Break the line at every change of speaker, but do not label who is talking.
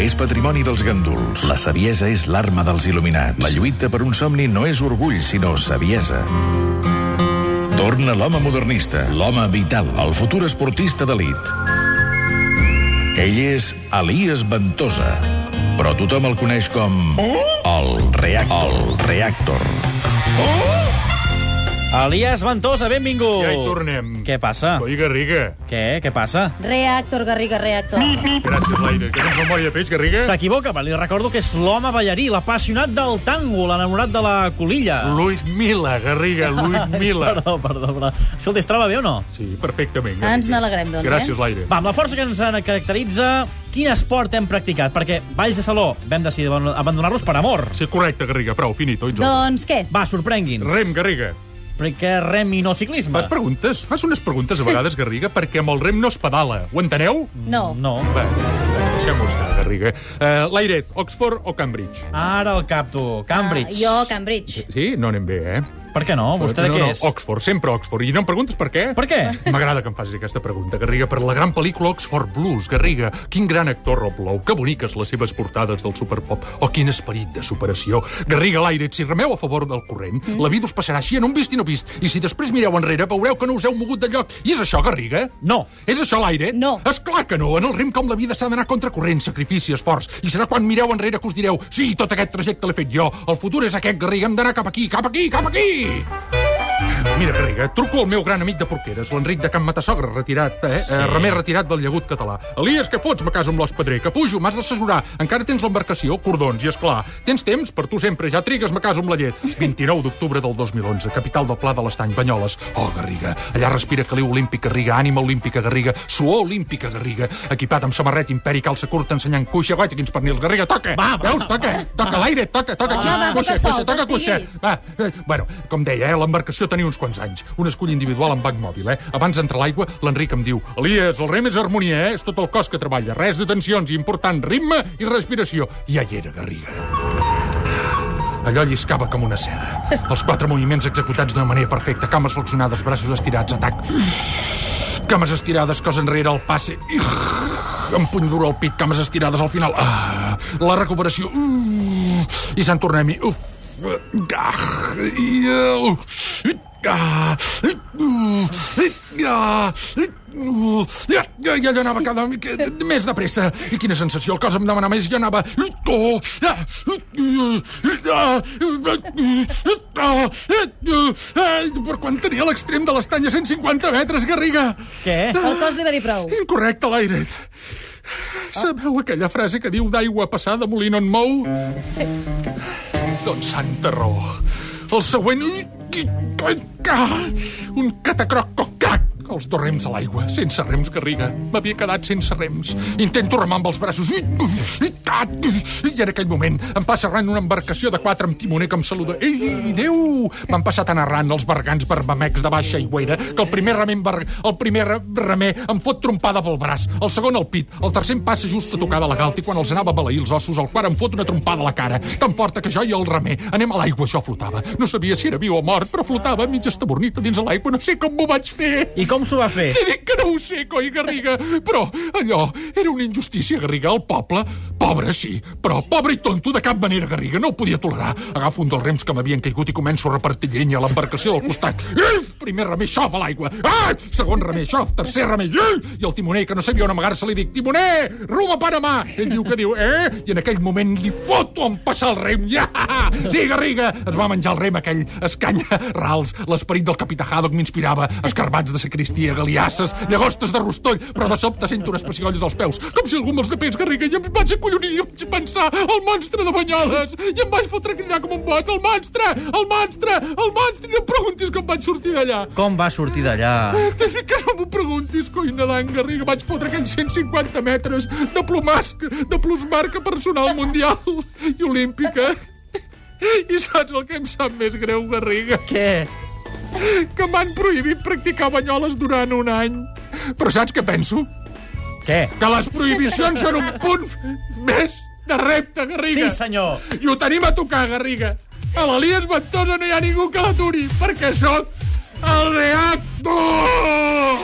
és patrimoni dels ganduls. La saviesa és l'arma dels il·luminats. La lluita per un somni no és orgull, sinó saviesa. Torna l'home modernista, l'home vital, el futur esportista d'elit. Ell és Elias Ventosa, però tothom el coneix com... El Reactor. El Reactor.
Elias Ventosa, benvingut!
Ja hi tornem.
Oh. Què passa?
Coi, Garriga.
Què? Què passa?
Reactor, Garriga, reactor.
Gràcies, Laire. Que tens memòria de peix, Garriga?
S'equivoca, però li recordo que és l'home ballarí, l'apassionat del tango, l'enamorat de la colilla.
Luis Mila, Garriga, Luis Mila.
Perdó, perdó, perdó. Escolta, es troba bé o no?
Sí, perfectament.
Ens n'alegrem, doncs, eh?
Gràcies, Laire.
Va, amb la força que ens en caracteritza, quin esport hem practicat? Perquè Valls de Saló vam decidir abandon- abandonar-los per amor.
Sí, correcte, Garriga. Prou, finito. Ets home.
Doncs què?
Va, sorprengui'ns.
Rem, Garriga.
Perquè rem i no ciclisme.
Fas preguntes? Fas unes preguntes a vegades, Garriga, perquè amb el rem no es pedala. Ho enteneu?
No.
No.
Va, va, deixem-ho estar, Garriga. Uh, Lairet, Oxford o Cambridge?
Ara el capto. Cambridge.
Ah, jo, Cambridge.
Sí? No anem bé, eh?
Per què no? Vostè de
no,
què
no, oh.
és?
Oxford, sempre Oxford. I no em preguntes per què?
Per què?
M'agrada que em facis aquesta pregunta, Garriga, per la gran pel·lícula Oxford Blues. Garriga, quin gran actor Rob Lowe, que boniques les seves portades del superpop, o quin esperit de superació. Garriga, l'aire, si remeu a favor del corrent, mm. la vida us passarà així en un vist i no vist, i si després mireu enrere veureu que no us heu mogut de lloc. I és això, Garriga?
No.
És això l'aire?
No.
És clar que no. En el rim com la vida s'ha d'anar contra corrent, sacrifici, esforç. I serà quan mireu enrere que us direu sí, tot aquest trajecte l'he fet jo. El futur és aquest, Garriga. Hem d'anar cap aquí, cap aquí, cap aquí! Mira, Garriga, truco al meu gran amic de Porqueres, l'Enric de Can Matassogra, retirat, eh? Sí. eh remer retirat del llagut català. Elies, què fots? Me caso amb l'os pedrer, que pujo, m'has d'assessorar. Encara tens l'embarcació, cordons, i és clar. Tens temps? Per tu sempre, ja trigues, me caso amb la llet. 29 d'octubre del 2011, capital del Pla de l'Estany, Banyoles. Oh, Garriga, allà respira caliu olímpic Garriga, ànima olímpica Garriga, suor olímpica Garriga, equipat amb samarret imperi, calça curta, ensenyant cuixa, guaita, quins pernils, Garriga, toca!
Va, va,
Veus? Toca, toca l'aire, toca, toca.
Va, va, toca sol, que
toca cuixa.
estiguis.
Va, eh, bueno, com deia, eh, l'embarcació tenia uns quants anys. Un escull individual amb banc mòbil, eh? Abans d'entrar a l'aigua, l'Enric em diu Elias, el rem és harmonia, eh? És tot el cos que treballa. Res de tensions, important ritme i respiració. I allà era Garriga. Allò lliscava com una seda. Els quatre moviments executats d'una manera perfecta, cames flexionades, braços estirats, atac. Cames estirades, cos enrere, el passe. Em puny duro al pit, cames estirades al final. Ah, la recuperació. Mm, I Sant Tornem-hi. Uf. Ah, i, uh, uf. Ah, uh, ah, uh, ja, ja, ja anava cada mica més de pressa. I quina sensació, el cos em demanava més, jo anava... Oh, ah, ah, ah, ah, per quan tenia l'extrem de l'estany a 150 metres, Garriga.
Què?
El cos li va dir prou.
Incorrecte, l'airet. Sabeu aquella frase que diu d'aigua passada molí no en mou? Doncs santa raó. El següent... Un catacroc cocac els dos rems a l'aigua, sense rems, Garriga. M'havia quedat sense rems. Intento remar amb els braços. I en aquell moment em passa arran una embarcació de quatre amb timoner que em saluda. Ei, Déu! M'han passat tan arran els bergants barbamecs de baixa aigüera que el primer remer, em bar- el primer re- remer em fot trompada pel braç, el segon al pit, el tercer em passa just a tocar de la galta i quan els anava a baleir els ossos, el quart em fot una trompada a la cara, tan forta que jo i el remer anem a l'aigua, jo flotava. No sabia si era viu o mort, però flotava mig estabornit a dins de l'aigua, no sé com m'ho vaig fer.
I com s'ho va fer?
T'he dit que no ho sé, coi, Garriga, però allò era una injustícia, Garriga, al poble. Pobre, sí, però pobre i tonto de cap manera, Garriga, no ho podia tolerar. Agafo un dels rems que m'havien caigut i començo a repartir llenya a l'embarcació del costat. Ui, primer remer, xof a l'aigua. Ah! Segon remer, xof, tercer remer, ui! I el timoner, que no sabia on amagar-se, li dic, timoner, rum a Panamà! Ell diu que diu, eh? I en aquell moment li foto en passar el rem. Ja! Sí, Garriga, es va menjar el rem aquell, escanya, rals, l'esperit del capità Haddock m'inspirava, escarbats de sacristia, galiasses, llagostes de rostoll, però de sobte sento unes pessigolles als peus, com si algú me'ls tapés, Garriga, i em vaig acollonir, i vaig pensar, el monstre de Banyoles, i em vaig fotre a cridar com un boig, el monstre, el monstre, el monstre, i no em preguntis com vaig sortir d'allà.
Com va sortir d'allà?
T'he dit que no m'ho preguntis, coi, nedant, Garriga. Vaig fotre aquells 150 metres de plomasc, de plusmarca personal mundial i olímpica. I saps el que em sap més greu, Garriga?
Què?
Que m'han prohibit practicar banyoles durant un any. Però saps què penso?
Què?
Que les prohibicions són un punt més de repte, Garriga.
Sí, senyor.
I ho tenim a tocar, Garriga. A l'Elias Ventosa no hi ha ningú que l'aturi, perquè sóc el reactor!